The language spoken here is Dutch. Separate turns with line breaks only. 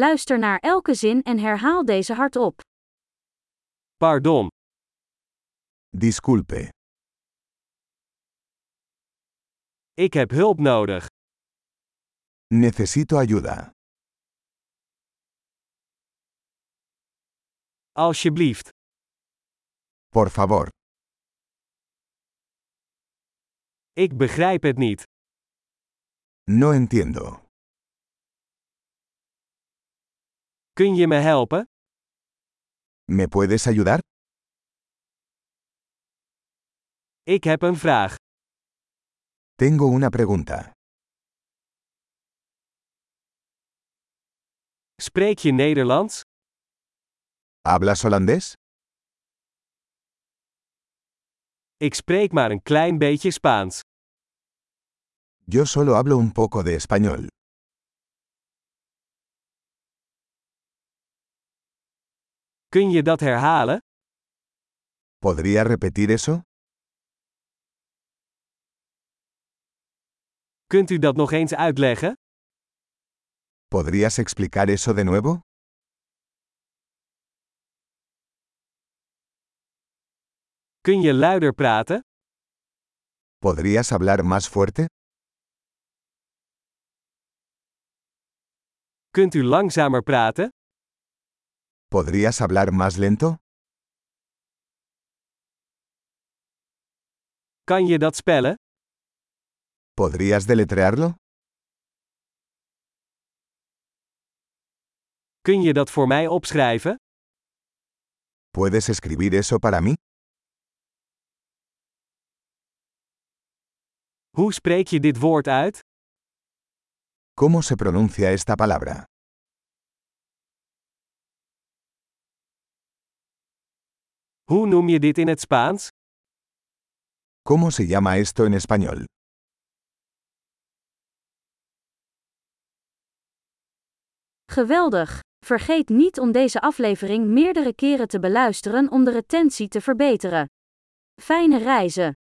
Luister naar elke zin en herhaal deze hardop.
Pardon,
Disculpe,
ik heb hulp nodig.
necesito ayuda.
Alsjeblieft,
Por favor,
ik begrijp het niet.
no entiendo.
Kun je me helpen?
¿Me puedes ayudar?
Ik heb een vraag.
Tengo una pregunta.
Spreek je Nederlands?
¿Hablas holandés?
Ik spreek maar een klein beetje Spaans.
Yo solo hablo un poco de español.
Kun je dat herhalen?
¿Podría repetir eso?
Kunt u dat nog eens uitleggen?
¿Podrías explicar eso de nuevo?
Kun je luider praten?
¿Podrías hablar más fuerte?
Kunt u langzamer praten?
¿Podrías hablar más lento?
Kan je dat spellen?
¿Podrías deletrearlo?
Kun je dat voor mij opschrijven?
¿Puedes escribir eso para mí?
Hoe spreek je dit woord uit?
¿Cómo se pronuncia esta palabra?
Hoe noem je dit in het Spaans?
¿Cómo se llama esto en español?
Geweldig! Vergeet niet om deze aflevering meerdere keren te beluisteren om de retentie te verbeteren. Fijne reizen!